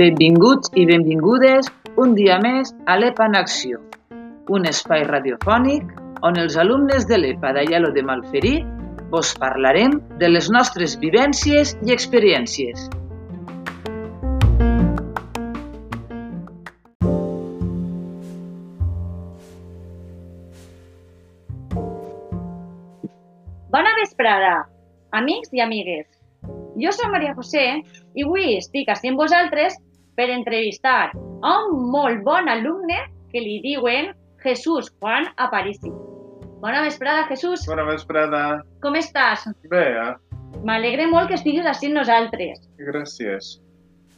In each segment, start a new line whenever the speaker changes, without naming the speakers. Benvinguts i benvingudes un dia més a l'EPA en acció, un espai radiofònic on els alumnes de l'EPA d'Aialo de Malferit vos parlarem de les nostres vivències i experiències.
Bona vesprada, amics i amigues. Jo soc Maria José i avui estic així amb vosaltres per entrevistar a un molt bon alumne que li diuen Jesús Juan Aparici. Bona vesprada, Jesús.
Bona vesprada.
Com estàs?
Bé, eh?
M'alegre molt que estiguis així amb nosaltres.
gràcies.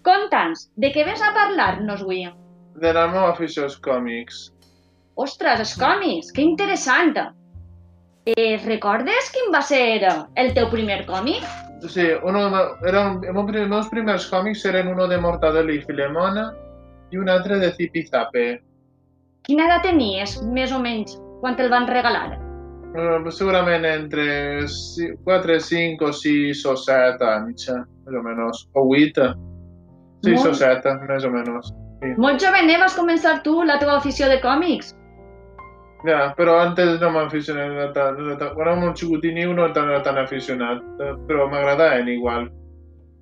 Conta'ns, de què vens a parlar-nos avui?
De la meva afició als còmics.
Ostres, els còmics, que interessant! Eh, recordes quin va ser el teu primer còmic?
Sí, uno de- era un, el meu primer- els meus primers còmics eren uno de Mortadelo i Filemona i un altre de Zip i Zape.
Quina edat tenies, més o menys, quan te'l van regalar?
Eh, Segurament entre 4, 5, o 6 o 7 anys, eh, més o menys. O 8. 6 o
Molt.
7, més o menys.
Molt jove, eh? Vas començar tu la teva afició de còmics.
Ja, però antes no m'aficionava tant. No era tan, quan era molt xicotini no era tan, no era tan aficionat, eh, però m'agradaven igual.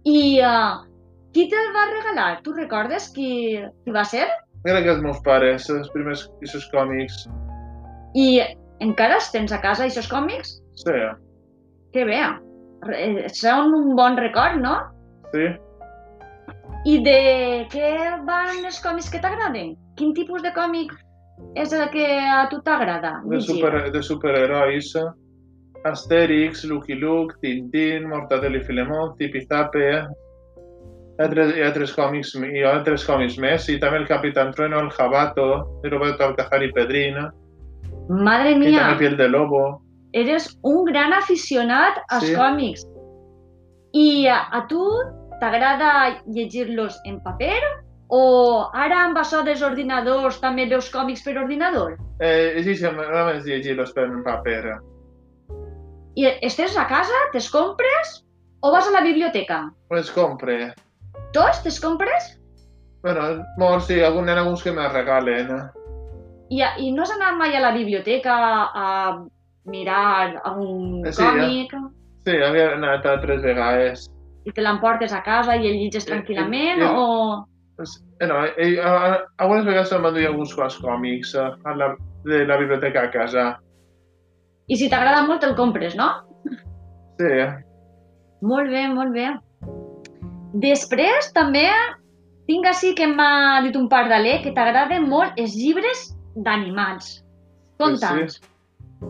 I uh, qui te'l va regalar? Tu recordes qui, qui va ser?
Mira que els meus pares, els primers aquests còmics.
I encara els tens a casa, aquests còmics?
Sí,
Que bé! Re- eh, Són un bon record, no?
sí.
I de què van els còmics que t'agraden? Quin tipus de còmic és el que a tu t'agrada?
De,
llegir?
super, de superherois. Astèrix, Lucky Luke, Tintín, Mortadelo i Filemón, Zip i Zape, hi ha, tres, hi ha tres còmics, hi ha tres còmics més, i també el Capitán Trueno, el Jabato, de Roberto Alcajar i Pedrina,
Madre
i
mia!
també Piel de Lobo.
eres un gran aficionat als
Sí.
còmics. I a, a tu t'agrada llegir-los en paper o ara amb això dels ordinadors també veus còmics per ordinador?
Eh, llegeixen, només llegir-los per en paper.
I estàs a casa, te'ls compres o vas a la biblioteca?
Els compre.
Tots te'ls compres?
Bueno, molts, sí, algun, hi ha alguns que me regalen. eh.
I, a- I no has anat mai a la biblioteca a mirar algun
Eh, Sí,
còmic
Sí, havia anat altres vegades.
i te l'emportes a casa i el llitges
Sí,
tranquil·lament
sí, sí.
o...
Pues, eh, no, eh, eh, a- a- algunes vegades em van dur alguns quants còmics eh, a la, de la biblioteca a casa.
I si t'agrada molt te'l compres, no?
Sí,
Molt bé, molt bé. Després també tinc així que m'ha dit un par d'alè que t'agraden molt els llibres d'animals. Conta'ns. Sí,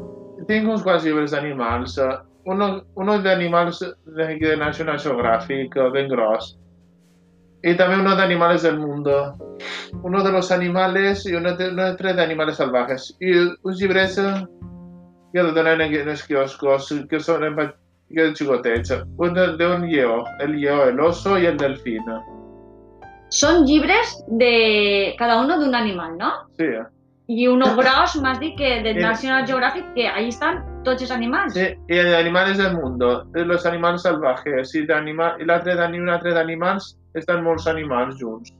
tinc uns quants llibres d'animals. eh, Uno, uno d'animals de, de National Geographic, eh, ben gros. I també uno d'animales del mundo. Uno de los animales i uno de, uno de tres d'animales salvajes. I uns llibrets eh, que el donen en, en els quioscos, que són en, pa- que xicotets. Un de- d'un lleó, el lleó, el oso i el delfín.
Són llibres de cada un d'un animal, no?
Sí, eh.
I un gros m'has dit que de
Sí.
National Geographic que ahí estan tots els animals.
Sí, y el de animales del mundo, de los animales salvajes, y de anima- i l'altre d'ani- un altre d'animals, estan molts animals junts.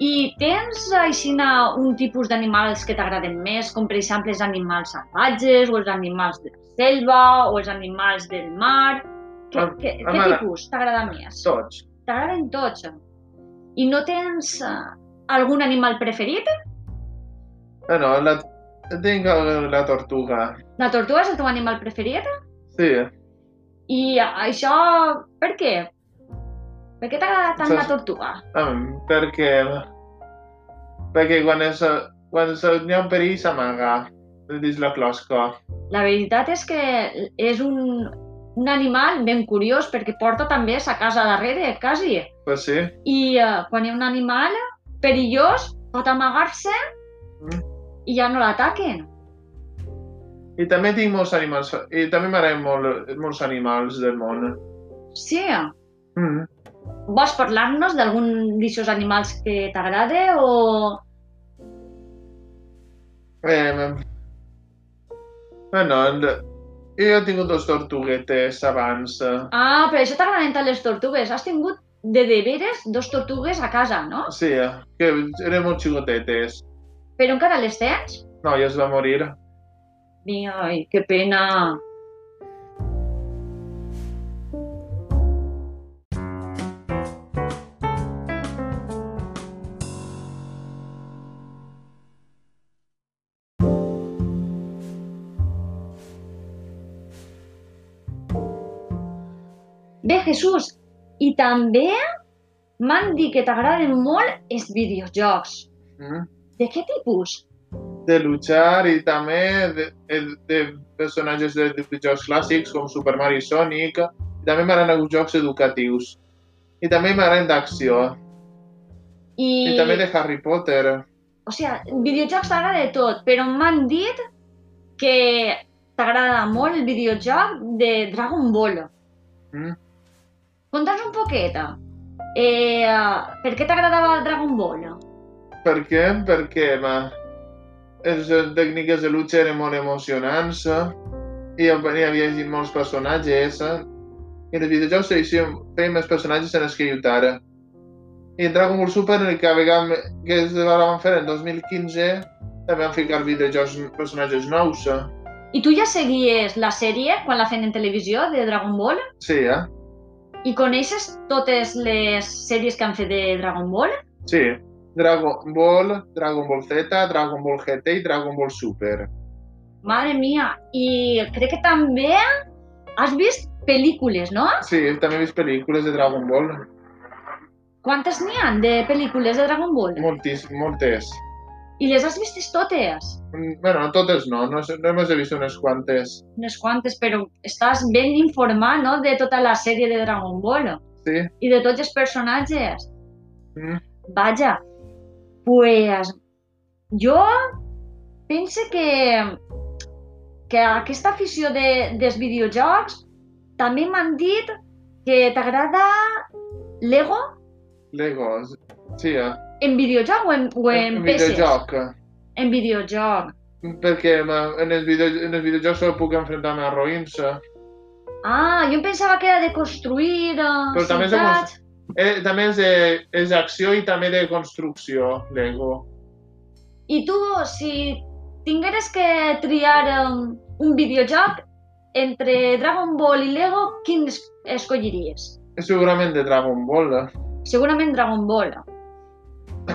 I tens aixina un tipus d'animals que t'agraden més, com per exemple els animals salvatges, o els animals de la selva, o els animals del mar... Què,
Am-
què, què
amara-
tipus t'agrada més?
Tots.
T'agraden tots. I no tens eh, algun animal preferit?
Bueno, la, tinc el- la tortuga.
La tortuga és el teu animal preferit?
Sí,
I això... per què? Per què t'agrada tant la
Saps-
tortuga?
em, perquè... Perquè quan és... Quan és, n'hi ha un perill s'amaga dins la closca.
La veritat és que és un, un animal ben curiós perquè porta també sa casa darrere, quasi.
Pues sí.
I eh, quan hi ha un animal perillós pot amagar-se
Mm.
i ja no l'ataquen.
I també tinc molts animals... I també m'agraden molt, molts animals del món.
Sí,
Mm.
vols parlar-nos d'algun d'aquests animals que t'agrada o
Eh, bueno, el, I jo he tingut dos tortuguetes abans. eh.
Ah, però això t'agraden tant les tortugues. Has tingut de deberes dos tortugues a casa, no?
Sí, eh, que eren molt xicotetes.
Però encara les tens?
No, ja es va morir.
Ai, que pena. Bé, Jesús, i també m'han dit que t'agraden molt els videojocs.
Mm?
De què tipus?
De luchar i també de, de, de personatges de, de jocs clàssics com Super Mario i Sonic. I també m'agraden els jocs educatius. I també m'agraden d'acció.
I,
I també de Harry Potter.
O sigui, videojocs t'agrada de tot, però m'han dit que t'agrada molt el videojoc de Dragon Ball.
Mm?
Conta'ns un poqueta. Eh, per què t'agradava el Dragon Ball?
Per què? Perquè ma, les tècniques de lucha eren molt emocionants eh? i hi havia hi havia molts personatges eh? i en els videojocs s'eixien- feien més personatges en els que lluitara. I en Dragon Ball Super, el que, a vegades, que es van fer en 2015, també van ficar videojocs personatges nous. Eh?
I tu ja seguies la sèrie quan la feien en televisió de Dragon Ball?
Sí, eh?
I coneixes totes les sèries que han fet de Dragon Ball?
Sí. Dragon Ball, Dragon Ball Z, Dragon Ball GT i Dragon Ball Super.
Madre mia! I crec que també has vist pel·lícules, no?
Sí, també he vist pel·lícules de Dragon Ball,
Quantes n'hi han de pel·lícules de Dragon Ball?
moltes, moltes.
I les has vistes totes?
Mm, Bueno, totes no, no, sé- només he vist unes quantes.
unes quantes, però estàs ben informat no? de tota la sèrie de Dragon Ball
Sí?
i de tots els personatges.
Mm.
Vaja, pues jo penso que, que aquesta afició de, dels videojocs també m'han dit que t'agrada Lego
Lego, sí, eh?
en videojoc o en, o en,
un
peces?
videojoc.
En videojoc.
Perquè ma, en els, video, en els videojocs solo puc enfrontar-me a roïns. eh.
Ah, jo em pensava que era de construir
Però
Però
també és de
ciutats.
Eh, també és, de, és d'acció i també de construcció, Lego.
I tu, si tingueres que triar um, un videojoc entre Dragon Ball i Lego, quin es escolliries?
És segurament de Dragon Ball. eh.
Segurament Dragon Ball.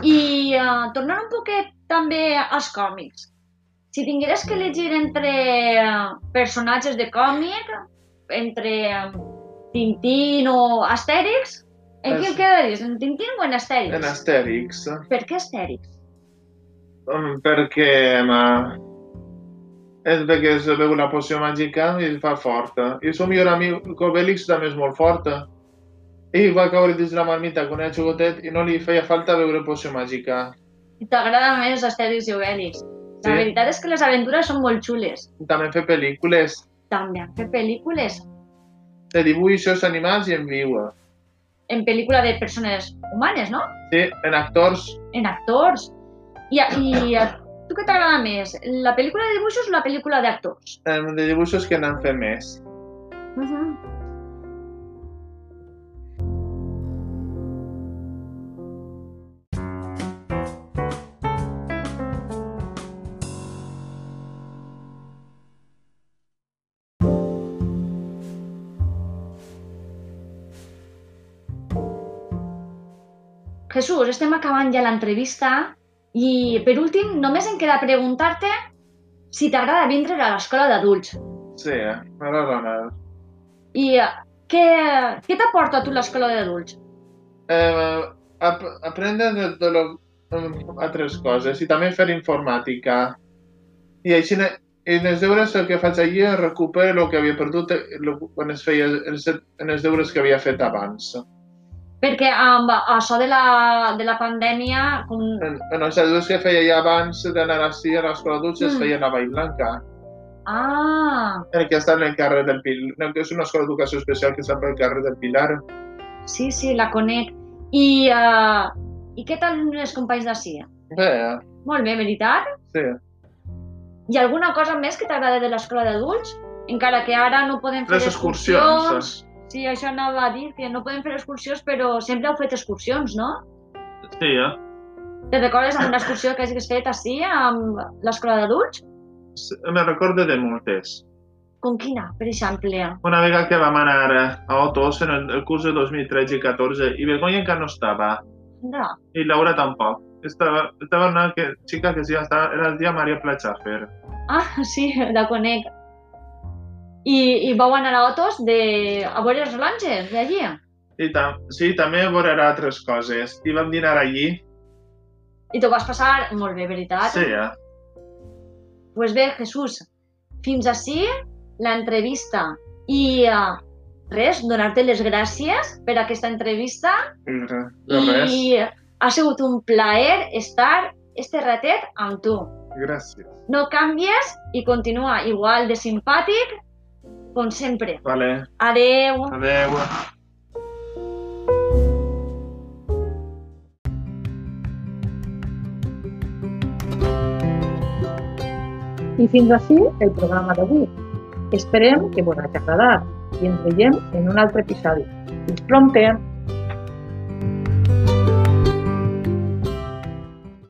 I uh, tornant un poquet també als còmics. Si tingueres que elegir entre eh, personatges de còmic, entre eh, Tintín o Astèrix, en
Es-
qui el quedaries? En Tintín o en Astèrix?
En Asterix.
Per què Astèrix?
Mm, Perquè... Ma, és perquè es veu una poció màgica i es fa forta. I el seu millor amic, Obelix, també és molt forta. I va caure dins la marmita quan era xocotet i no li feia falta veure poció màgica.
T'agrada més Astèrix i Obélix. La
Sí.
veritat és que les aventures són molt xules.
També fer pel·lícules
També han fet pel·lícules
de dibuixos animals i en viu.
en pel·lícula de persones humanes, no?
Sí, en actors,
En actors. I, a- i a tu què t'agrada més? La pel·lícula de dibuixos o la pel·lícula d'actors?
em, de dibuixos que n'han fet més.
Uh -huh. Jesús, estem acabant ja l'entrevista i, per últim, només em queda preguntar-te si t'agrada vindre a l'escola d'adults.
Sí, eh? m'agrada anar.
I eh, què, què t'aporta a tu l'escola d'adults?
Eh, ap aprendre de, de lo, em, altres coses i també fer informàtica. I així ne- en els deures el que faig allí és recuperar el que havia perdut eh, lo, quan es feia els, en els deures que havia fet abans.
Perquè amb això de la, de la pandèmia, com,
En, en els deures que feia ja abans d'anar així a l'escola d'Utx es
Mm.
feien a Vall Blanca.
ah,
el que està en el carrer del Pilar, no, que és una escola d'educació especial que està pel carrer del Pilar.
sí, sí, la conec. I, uh, i què tal els companys d'ací?
Bé,
Molt bé, veritat?
sí.
Hi ha alguna cosa més que t'agrada de l'escola d'adults? encara que ara no podem fer
Les excursions. eh.
Sí, això anava a dir, que no podem fer excursions, però sempre heu fet excursions, no?
Sí, eh?
Te'n recordes amb una excursió que has fet així, amb l'escola d'adults?
Me recordo de moltes.
Com quina, per exemple?
Una vegada che vam anar a Otos en el curs de 2013-14 i Begoña encara no estava
No.
i Laura tampoc. Estava, estava una que, chica que sí, estava, era el dia Maria Platxafer.
Ah, sí, la conec. I, i vau anar a Otos de, a veure els Rangers d'allí?
I tam sí, també a veure altres coses. I vam dinar allí.
I t'ho vas passar molt bé, veritat?
Sí, eh?
Pues bé, Jesús, fins així l'entrevista. I eh, res, donar-te les gràcies per aquesta entrevista.
I re- De res.
I ha sigut un plaer estar este ratet amb tu.
Gràcies.
No canvies i continua igual de simpàtic com sempre.
Vale.
Adeu!
Adeu.
I fins així el programa d'avui. Esperem que vos hagi agradat i ens veiem en un altre episodi. Fins prompte!